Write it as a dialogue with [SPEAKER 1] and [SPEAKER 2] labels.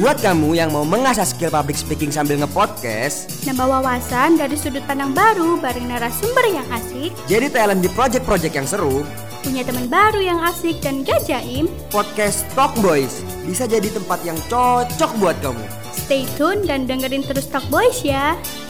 [SPEAKER 1] Buat kamu yang mau mengasah skill public speaking sambil ngepodcast,
[SPEAKER 2] Nambah wawasan dari sudut pandang baru bareng narasumber yang asik,
[SPEAKER 1] jadi talent di project-project yang seru,
[SPEAKER 2] punya teman baru yang asik dan gajaim.
[SPEAKER 1] podcast Talk Boys bisa jadi tempat yang cocok buat kamu.
[SPEAKER 2] Stay tune dan dengerin terus Talk Boys ya.